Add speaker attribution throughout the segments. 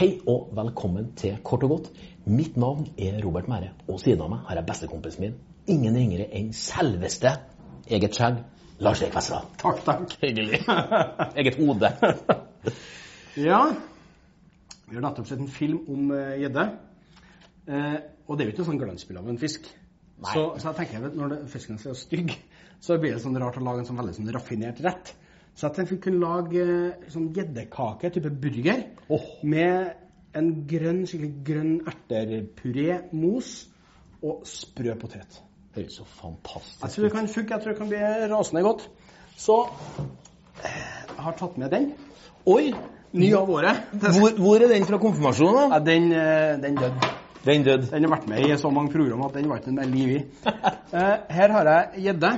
Speaker 1: Hei og velkommen til Kort og godt. Mitt navn er Robert Mære, og siden av meg har jeg bestekompisen min, ingen ringere enn selveste eget skjegg, Lars Erik Westerdal.
Speaker 2: Takk, takk.
Speaker 1: Hyggelig. Eget hode.
Speaker 2: Ja, vi har nettopp sett en film om eh, gjedde. Eh, og det er jo ikke noe sånn glansbilde av en fisk.
Speaker 1: Nei.
Speaker 2: Så, så jeg tenker at når det, fisken er så stygg, så blir det sånn rart å lage en sånn veldig sånn raffinert rett. Så jeg tenkte vi kunne lage eh, sånn gjeddekake, type burger,
Speaker 1: Åh.
Speaker 2: med en grønn, skikkelig grønn erterpuré, mos og sprø potet.
Speaker 1: Høres så fantastisk
Speaker 2: Jeg tror det kan funke, jeg tror det kan bli rasende godt. Så eh, jeg har tatt med den.
Speaker 1: Oi!
Speaker 2: Ny av året.
Speaker 1: Hvor, hvor er den fra konfirmasjonen, da?
Speaker 2: Ja, den, eh, den død.
Speaker 1: Den døde.
Speaker 2: Den har vært med i så mange program at den var ikke mer liv i. Eh, Her har jeg gjedde.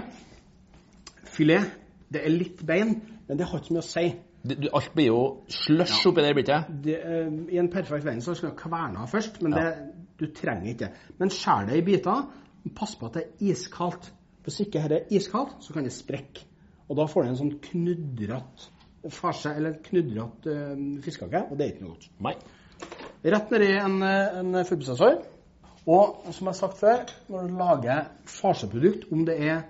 Speaker 2: Filet. Det er litt bein, men det har ikke så mye å si.
Speaker 1: Du- du- Alt blir jo slush oppi der, blir det ikke?
Speaker 2: Det, eh, I en perfekt verden så skulle jeg kverna først, men
Speaker 1: Ja.
Speaker 2: det, du trenger ikke det. Men skjær det i biter. men Pass på at det er iskaldt. Hvis ikke dette er iskaldt, så kan det sprekke. Og da får du en sånn knudrete farse, eller knudrete eh, fiskekake, og det er ikke noe godt.
Speaker 1: Nei.
Speaker 2: Rett nedi en, eh, en fullprosessor. Og som jeg har sagt før, når du lager farseprodukt, om det er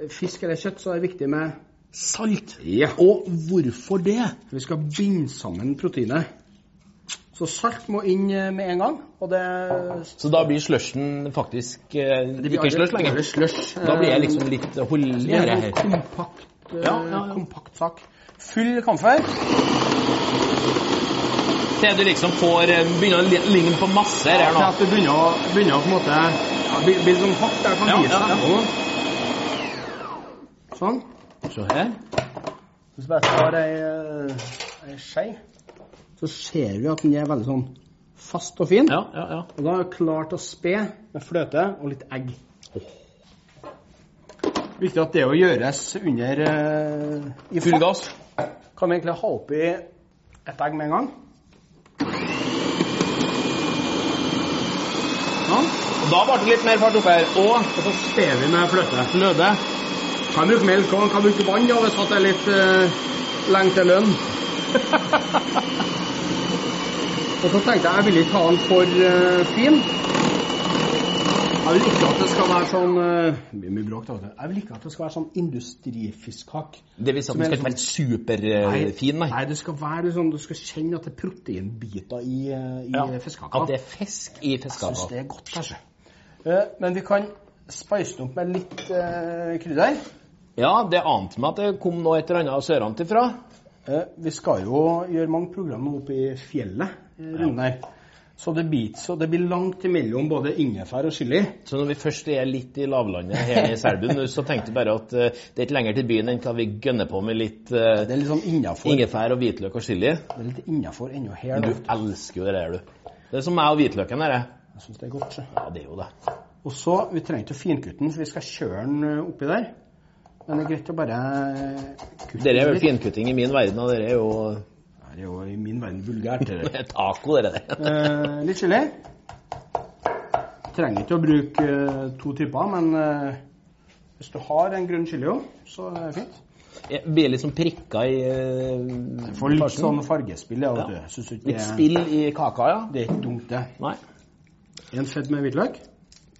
Speaker 2: eh, fisk eller kjøtt, så er det viktig med salt. Og hvorfor det? For vi skal binde sammen proteinet. Så salt må inn eh, med en gang. Og det
Speaker 1: Så da blir slushen faktisk eh,
Speaker 2: det
Speaker 1: ikke slush
Speaker 2: aldri-
Speaker 1: lenger?
Speaker 2: aldri slush.
Speaker 1: Da blir jeg liksom litt
Speaker 2: Det er
Speaker 1: holdere
Speaker 2: en
Speaker 1: her.
Speaker 2: kompakt, eh,
Speaker 1: Ja, ja, ja.
Speaker 2: kompakt sak. Full kamfer.
Speaker 1: Til du liksom får eh, begynner å li- ligne på masse her
Speaker 2: Til
Speaker 1: nå.
Speaker 2: at du begynner å, begynner å på en måte ja, bli, bli sånn hardt der kan
Speaker 1: Ja,
Speaker 2: vise
Speaker 1: ja, ja.
Speaker 2: deg. Sånn.
Speaker 1: Se her.
Speaker 2: Hvis jeg bare tar ei, eh, ei skei, så ser vi at den er veldig sånn fast og fin.
Speaker 1: Ja, ja, ja.
Speaker 2: Og da er det klart å spe med fløte og litt egg. Viktig at det å gjøres under eh, i
Speaker 1: Full
Speaker 2: fart.
Speaker 1: gass.
Speaker 2: Kan vi egentlig ha oppi et egg med en gang? Sånn.
Speaker 1: Og da ble det litt mer fart oppe her. Og
Speaker 2: Og så sper vi med fløte.
Speaker 1: løde.
Speaker 2: Kan bruke melk og kan bruke vann da, hvis at det er litt eh, lenge til lønn. og så tenkte jeg jeg vil ikke ha den for eh, fin. Jeg vil ikke at det skal være sånn eh, det blir mye bråk da, vet du. Jeg vil ikke at det skal være sånn industrifiskhakk.
Speaker 1: Det vil si at den skal ikke være superfin, nei.
Speaker 2: Nei, du skal, være litt sånn, du skal kjenne at det er proteinbiter i, eh, i
Speaker 1: Ja.
Speaker 2: fiskehakka.
Speaker 1: At det er fisk i
Speaker 2: Jeg syns
Speaker 1: fiskekaka.
Speaker 2: det er godt, kanskje. Eh, men vi kan spice den opp med litt eh, krydder.
Speaker 1: Ja, det ante meg at det kom noe et eller annet sørantifra.
Speaker 2: Eh, Vi skal jo gjøre mange program nå oppe i fjellet. eh, rundt der. Så det blir, ikke så det blir langt imellom både ingefær og chili.
Speaker 1: Så når vi først er litt i lavlandet her i Selbu nå, så tenkte jeg bare at eh, det er ikke lenger til byen enn hva vi gønner på med litt eh,
Speaker 2: Det er litt sånn innafor.
Speaker 1: ingefær og hvitløk og chili.
Speaker 2: Det er litt innafor ennå her.
Speaker 1: Du
Speaker 2: da.
Speaker 1: elsker jo det der, du. Det er som meg og hvitløken her. jeg.
Speaker 2: Jeg syns det er godt. så.
Speaker 1: Ja, det er jo det.
Speaker 2: Og så, Vi trenger ikke å finkutte den, for vi skal kjøre den eh, oppi der. Men det er greit å bare eh, kutte
Speaker 1: Dere er
Speaker 2: den
Speaker 1: jo
Speaker 2: litt.
Speaker 1: finkutting i min verden, og dere er jo
Speaker 2: Det er jo i min verden vulgært. det der.
Speaker 1: taco, dere der.
Speaker 2: Eh, litt chili. Trenger ikke å bruke eh, to typer, men eh, hvis du har en grønn chili òg, så er det fint.
Speaker 1: Jeg Blir litt sånn prikka i eh,
Speaker 2: Får litt
Speaker 1: farsen.
Speaker 2: sånn fargespill, ja. vet
Speaker 1: Ja.
Speaker 2: du. Synes ikke
Speaker 1: Litt
Speaker 2: det,
Speaker 1: spill i kaka, ja.
Speaker 2: det er ikke dumt, det.
Speaker 1: Nei.
Speaker 2: En fett med hvitløk.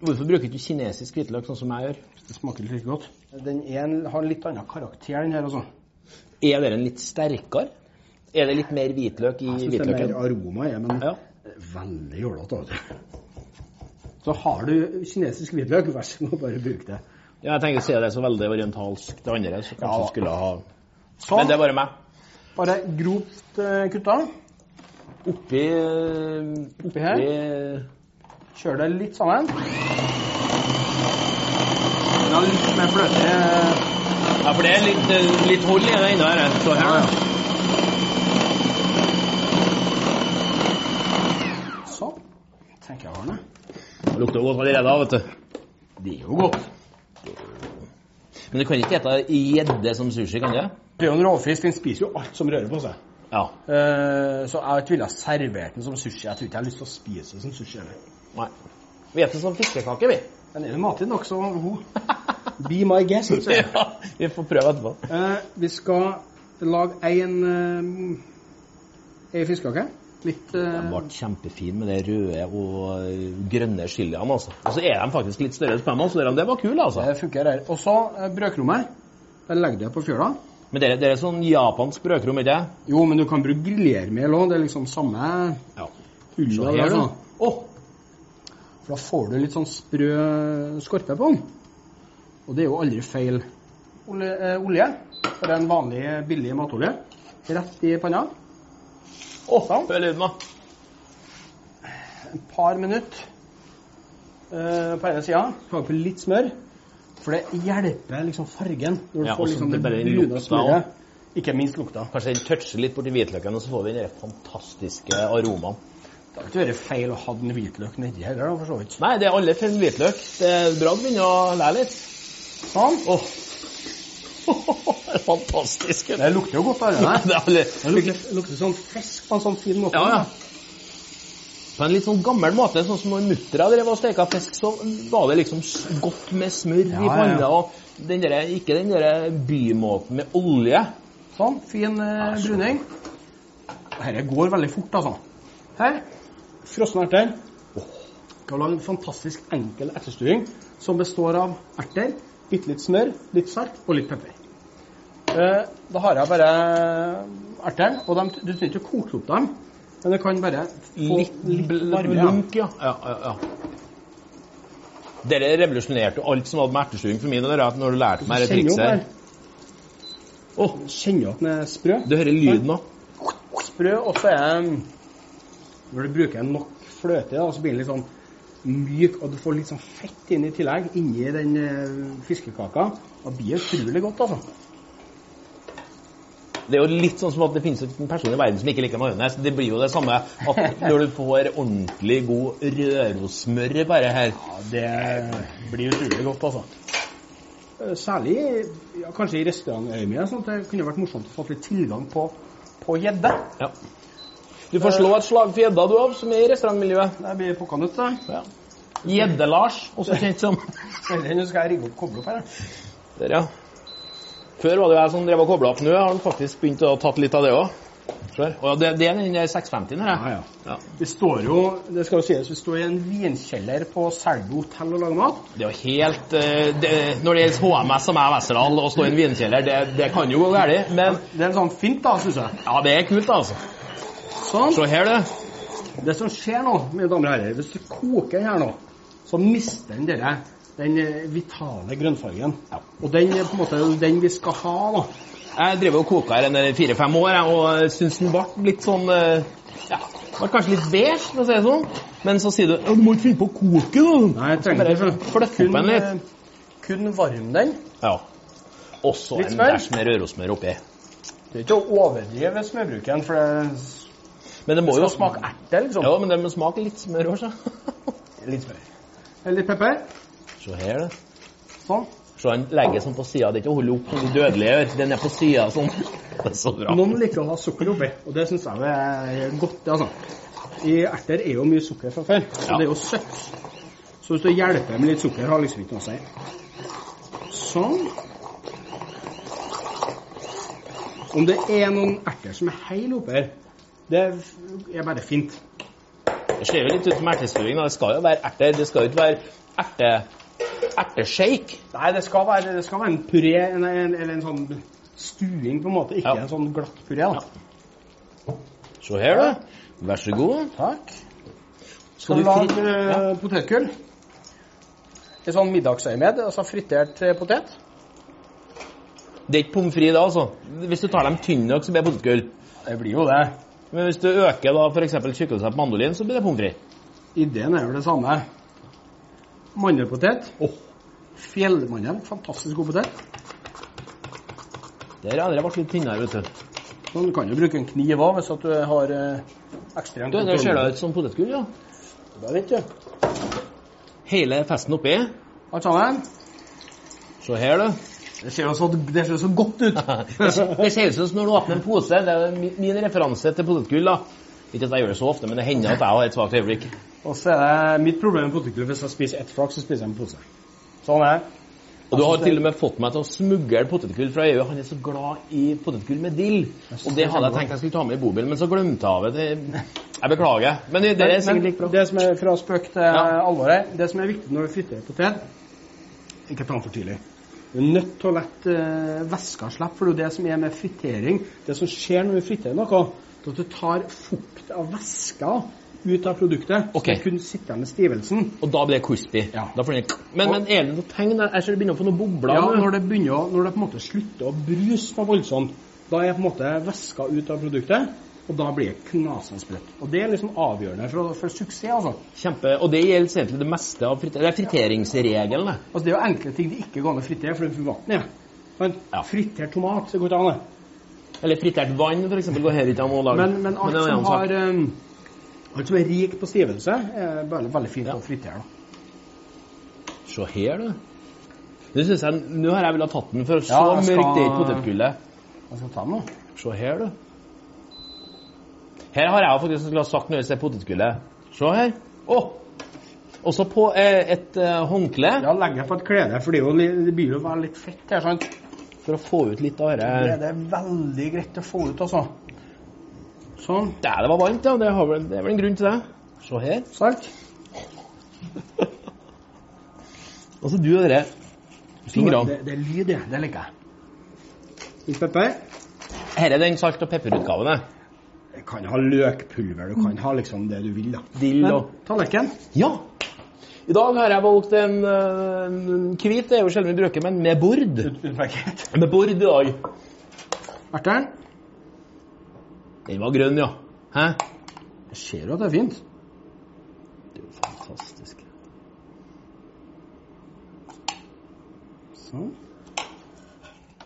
Speaker 1: Hvorfor bruker du ikke kinesisk hvitløk, sånn som jeg gjør?
Speaker 2: Det smaker ikke like godt. Den er en, har en litt annen karakter, den her, altså.
Speaker 1: Er den litt sterkere? Er det litt mer hvitløk i
Speaker 2: Jeg synes det er
Speaker 1: hvitløken?
Speaker 2: mer aroma i, men
Speaker 1: Ja.
Speaker 2: veldig jålete, vet du. Så har du kinesisk hvitløk, vær så god, bare bruk det.
Speaker 1: Ja, jeg tenker å si det er så veldig orientalsk det andre, så kanskje
Speaker 2: Ja.
Speaker 1: du skulle ha
Speaker 2: Sånn.
Speaker 1: Men det er bare meg.
Speaker 2: Bare grovt eh, kutta.
Speaker 1: Oppi
Speaker 2: Oppi her? Kjør det litt sammen. Ja, litt mer fløte. eh,
Speaker 1: Ja, for det er litt, eh, litt hold i det ennå her. jeg står her.
Speaker 2: Sånn. Tenker jeg har den.
Speaker 1: Det lukter godt allerede, vet du.
Speaker 2: Det er jo godt.
Speaker 1: Men du kan ikke spise gjedde som sushi, kan du?
Speaker 2: Det er jo en rovfisk, den spiser jo alt som rører på seg.
Speaker 1: Ja.
Speaker 2: Eh, så jeg ikke ville ha servert den som sushi. Jeg tror ikke jeg har lyst til å spise den som sushi heller.
Speaker 1: Nei. Vi spiser som fiskekake, vi.
Speaker 2: Men er det matlig nok, så Be my guest. sier jeg.
Speaker 1: Ja, vi får prøve etterpå.
Speaker 2: Eh, vi skal lage en eh, ei fiskekake. Litt eh,
Speaker 1: Den ble kjempefin med det røde og eh, grønne chiliene, altså. Og så er de faktisk litt større enn oss, så de- det var kul, altså.
Speaker 2: Det funker her. Og så eh, brødkrummet. Jeg legger det på fjøla.
Speaker 1: Men det, er- det er sånn japansk brødkrom, ikke det?
Speaker 2: Jo, men du kan bruke griljermel òg. Det er liksom samme
Speaker 1: Ja.
Speaker 2: hullet.
Speaker 1: Se her,
Speaker 2: der,
Speaker 1: du.
Speaker 2: sånn. Å! For da får du litt sånn sprø skorpe på den. Og det er jo aldri feil. Olje, eh, olje for en vanlig eh, billig matolje. Rett i panna.
Speaker 1: Å, hør lyden, da.
Speaker 2: Et par minutter eh, på ene sida. Ta på litt smør. For det hjelper liksom fargen. Når du
Speaker 1: Ja, og
Speaker 2: får
Speaker 1: så
Speaker 2: liksom det
Speaker 1: det bare lukta
Speaker 2: brune
Speaker 1: også.
Speaker 2: smøret. Ikke minst lukta.
Speaker 1: Kanskje den toucher litt borti hvitløken, og så får vi den der fantastiske aromaen.
Speaker 2: Det hadde ikke vært feil å ha den hvitløk nedi heller, da, for så vidt.
Speaker 1: Nei, det er alle fem hvitløk. Det er bra å begynne å lære litt.
Speaker 2: Sånn.
Speaker 1: Åh. Det er fantastisk.
Speaker 2: Det lukter jo godt av det
Speaker 1: Nei,
Speaker 2: der.
Speaker 1: det er alle...
Speaker 2: Det lukter, lukter sånn fisk på en sånn fin måte.
Speaker 1: Ja, ja. På en litt sånn gammel måte, sånn som når muttera drev og steka fisk, så var det liksom s- godt med smør
Speaker 2: Ja,
Speaker 1: i
Speaker 2: ja,
Speaker 1: panna.
Speaker 2: ja.
Speaker 1: og den der, Ikke den der bymåten med olje.
Speaker 2: Sånn, fin eh,
Speaker 1: Ja, så
Speaker 2: bruning. Dette går veldig fort, altså. Her, frosne erter. Skal lage en fantastisk enkel ertestuing som består av erter, bitte litt smør, litt salt og litt pepper. Eh, Da har jeg bare ertene, og dem- du trenger ikke å koke opp dem, men du kan bare få
Speaker 1: Litt, litt
Speaker 2: varme, ja.
Speaker 1: lunk, ja. ja, ja, ja. Dere revolusjonerte jo alt som hadde med ertestuing for min del, at når du lærte meg dette
Speaker 2: Kjenner jo
Speaker 1: trikset. her.
Speaker 2: bare- Åh, Kjenner jo at den er sprø.
Speaker 1: Du hører lyden òg.
Speaker 2: sprø, og så er den Når du bruker nok fløte, da, så blir den litt sånn myk, og du får litt sånn fett inn i tillegg, inni den eh, fiskekaka. Og det blir utrolig godt, altså.
Speaker 1: Det er jo litt sånn som at det finnes en person i verden som ikke liker majones. Det blir jo det samme at når du får ordentlig god rørosmør bare her
Speaker 2: Ja, Det blir utrolig godt, altså. Eh, Særlig ja, kanskje i restaurantøyemed. Sånn at det kunne vært morsomt å få litt tilgang på på gjedde.
Speaker 1: ja. Du får slå et slag for gjedda, du òg, som er i restaurantmiljøet.
Speaker 2: Det blir pokkanøtt, det.
Speaker 1: Ja. Gjedde-Lars, også kjent som.
Speaker 2: Eller nå skal jeg rigge opp koble opp her. jeg.
Speaker 1: Der, ja. Før var det jo jeg som drev og kobla opp. Nå har han faktisk begynt å tatt litt av det òg. Ja, det, det er den der 650-en her.
Speaker 2: Ja, ja.
Speaker 1: Ja.
Speaker 2: Vi står jo det skal jo sies, vi står i en vinkjeller på Selbu hotell og lager mat.
Speaker 1: Det er jo helt eh, det, Når det gjelder HMS som er Westerdal, og stå i en vinkjeller, det, det kan jo gå galt. Men
Speaker 2: Det er sånn fint, da, syns jeg.
Speaker 1: ja, det er kult, altså.
Speaker 2: Sånn.
Speaker 1: Se her, du.
Speaker 2: Det som skjer nå, mine damer og herrer, hvis du koker den her nå, så mister den dere den eh, vitale grønnfargen. Og den er på en måte den vi skal ha, da.
Speaker 1: Jeg drev og koka her en eh, fire-fem år, jeg, og syns den ble litt sånn eh, Ja, ble kanskje litt beige, for å si det sånn. Men så sier du «Ja, Du må ikke finne på å koke den!
Speaker 2: Nei, jeg
Speaker 1: trenger
Speaker 2: trenger
Speaker 1: ikke,
Speaker 2: ikke. eh,
Speaker 1: så fløtt opp den litt.
Speaker 2: Kun varm den.
Speaker 1: Ja. Og så
Speaker 2: Litt
Speaker 1: en
Speaker 2: smør?
Speaker 1: dæsj med rørosmør oppi.
Speaker 2: Det er ikke å overdrive smørbruken, for det
Speaker 1: Men det må jo
Speaker 2: skal smake erte, liksom.
Speaker 1: Ja, men det må smake litt smør òg, så.
Speaker 2: Litt smør. Litt pepper.
Speaker 1: Se her, du.
Speaker 2: Sånn.
Speaker 1: Se han legger sånn på sida. Det er ikke å holde opp som de dødelige gjør. Den er på sida sånn. Det er så bra.
Speaker 2: Noen liker å ha sukker oppi, og det syns jeg er godt. det, altså. I erter er jo mye sukker fra før, og
Speaker 1: Ja.
Speaker 2: det er jo søtt. Så hvis du hjelper med litt sukker, har liksom ikke noe å si. Sånn. Om det er noen erter som er helt oppi her, det er bare fint.
Speaker 1: Det ser jo litt ut som ertestuing. da. Det skal jo være erter. Det skal jo ikke være erte... Erteshake.
Speaker 2: Nei, det skal være, det skal være en puré, en, en, eller en sånn stuing, på en måte. Ikke
Speaker 1: Ja.
Speaker 2: en sånn glatt puré. da.
Speaker 1: Se her, du. Vær så god.
Speaker 2: Takk.
Speaker 1: Skal
Speaker 2: Skal
Speaker 1: du
Speaker 2: du lage
Speaker 1: fri-
Speaker 2: eh, potetgull? I sånn middagsøyemed, altså fritert eh, potet.
Speaker 1: Det er ikke pommes frites da, altså. Hvis du tar dem tynne nok, så blir det potetgull.
Speaker 2: Det blir jo det.
Speaker 1: Men hvis du øker da f.eks. tykkelsen på mandolin, så blir det pommes frites.
Speaker 2: Ideen er jo det samme. Mandelpotet. Fjellmandel. Fantastisk god potet.
Speaker 1: Der har det vært litt tynnere, vet du.
Speaker 2: Men du kan jo bruke en kniv òg, hvis at du har eh, ekstremt
Speaker 1: du det ser da ut som potetgull, ja.
Speaker 2: Det vet du.
Speaker 1: Hele festen oppi.
Speaker 2: Alt sammen.
Speaker 1: Se her, du.
Speaker 2: Det ser jo så, det ser jo så godt ut.
Speaker 1: Det ser- det ser ut som når du åpner en pose. Det er min- min referanse til potetgull. da. Ikke at jeg gjør det så ofte, men det hender at jeg har et svakt øyeblikk.
Speaker 2: Og så er det mitt problem med potetgull. Hvis jeg spiser ett flak, så spiser jeg en pose. Sånn er Altså, det.
Speaker 1: Og du har til og med fått meg til å smugle potetgull fra EU. Han er så glad i potetgull med dill. Og det hadde jeg tenkt jeg skulle ta med i bobilen, men så glemte jeg av det. Det- Jeg beklager. Men det det er sikkert like bra.
Speaker 2: det som er fra spøk til
Speaker 1: Ja.
Speaker 2: alvor her, det som er viktig når du friterer potet Ikke ta den for tidlig. Du er nødt til å la eh, væska slippe, for det er jo det som er med fritering. Det som skjer når du friterer noe, det er at du tar fukt av væska ut av produktet.
Speaker 1: Ok.
Speaker 2: Så du kun sitter igjen med stivelsen.
Speaker 1: Og da blir det crispy.
Speaker 2: Ja.
Speaker 1: Da får den... Men, men er det noe tegn der? Jeg ser det begynner å få noen bobler.
Speaker 2: Ja,
Speaker 1: nå.
Speaker 2: når det begynner å, når det på en måte slutter å bruse på voldsomt, da er på en måte væska ut av produktet, og da blir det knasende sprøtt. Og det er liksom avgjørende for, for suksess, altså.
Speaker 1: Kjempe. Og det gjelder egentlig det meste av friter... Det er friteringsregelen. det.
Speaker 2: Altså, Det er jo enkle ting det ikke går an å fritere, for det er for vann i. Men
Speaker 1: Ja.
Speaker 2: Fritert tomat det går ikke an. det.
Speaker 1: Eller fritert vann, for eksempel, går her ikke an å lage.
Speaker 2: Men, men alt
Speaker 1: det er en
Speaker 2: som
Speaker 1: annen sak.
Speaker 2: har ehm, Alt som er rikt på stivelse, er bare veldig fint
Speaker 1: Ja.
Speaker 2: å fritere. da.
Speaker 1: Se her, du. Det synes jeg, Nå har jeg villet tatt den, for så
Speaker 2: Ja, jeg skal-
Speaker 1: mørkt er ikke potetgullet.
Speaker 2: Jeg skal Altså, ta den nå.
Speaker 1: Se her, du. Her har jeg faktisk skulle ha sagt når jeg ser potetgullet. Se her. Å! Også på eh, et eh, håndkle,
Speaker 2: Ja, legger jeg på et klede, for det, er jo, li- det blir jo bare litt fett her. sant?
Speaker 1: for å få ut litt av det
Speaker 2: Det
Speaker 1: her.
Speaker 2: er det veldig greit å få ut, altså. Sånn.
Speaker 1: Det, det var varmt, ja. Det, har vel, det er vel en grunn til det. Se her.
Speaker 2: Salt.
Speaker 1: Altså, du og dere fingrene.
Speaker 2: Det, det er lyd, det. Det liker jeg. Litt pepper.
Speaker 1: Her er den salt- og pepperutgaven. det.
Speaker 2: Du kan ha løkpulver, du kan ha liksom det du vil, da.
Speaker 1: Dill
Speaker 2: Men
Speaker 1: og
Speaker 2: tallerken.
Speaker 1: Ja! I dag har jeg valgt en, eh, en hvit. Det er jo sjelden vi bruker, men med bord.
Speaker 2: Utmerket.
Speaker 1: Med bord i dag.
Speaker 2: Erteren.
Speaker 1: Den var grønn, ja. Hæ?
Speaker 2: Jeg ser jo at det er fint.
Speaker 1: Det er jo fantastisk.
Speaker 2: Sånn.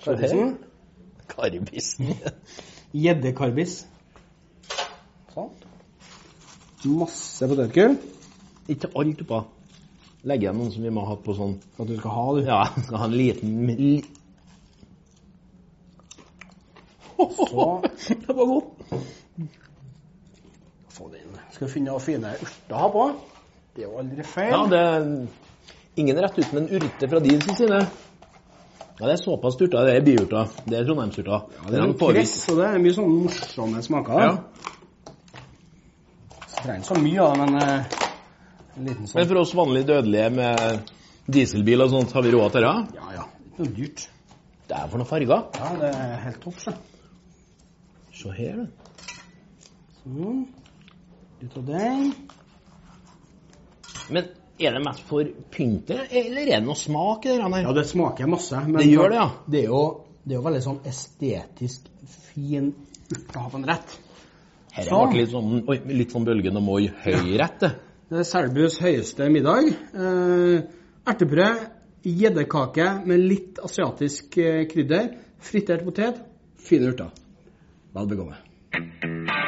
Speaker 1: Se her. Karbisen.
Speaker 2: Gjeddekarbis. Sånn. Masse potetgull.
Speaker 1: Ikke alt oppå. Legg igjen noen som vi må ha på sånn.
Speaker 2: At du skal ha det.
Speaker 1: Ja, jeg skal ha en liten li... Det var godt.
Speaker 2: Få det inn. Skal finne noen fine urter å ha på. Det er jo aldri feil.
Speaker 1: Ja, det er ingen rett uten en urte fra din sin side. Ja, det er såpass urta. Det er biurta. Det er Trondheimsurta.
Speaker 2: det er
Speaker 1: Den
Speaker 2: jo
Speaker 1: får vi-
Speaker 2: press, og det er mye sånne morsomme smaker. da.
Speaker 1: Ja.
Speaker 2: Så trenger ikke så mye av det, men eh, en liten
Speaker 1: Men
Speaker 2: sånn.
Speaker 1: for oss vanlige dødelige med dieselbil og sånt, har vi råd til det?
Speaker 2: Ja, ja. Ikke noe dyrt.
Speaker 1: Det er for noen farger.
Speaker 2: Ja, det er helt topp, så.
Speaker 1: Se her, du.
Speaker 2: Sånn. Litt av den.
Speaker 1: Men er det mest for pyntet, eller er det noe smak i det her?
Speaker 2: Ja, det smaker masse. Men
Speaker 1: Det gjør det, ja.
Speaker 2: Det er jo, det er jo veldig sånn estetisk fin urt å ha på en rett.
Speaker 1: Her
Speaker 2: Sånn.
Speaker 1: ble litt sånn, oi, litt sånn bølgen og moi høyrett, det.
Speaker 2: Det er Selbus høyeste middag. Eh, ertebrød, gjeddekake med litt asiatisk eh, krydder, fritert potet, fine urter. Vel begående.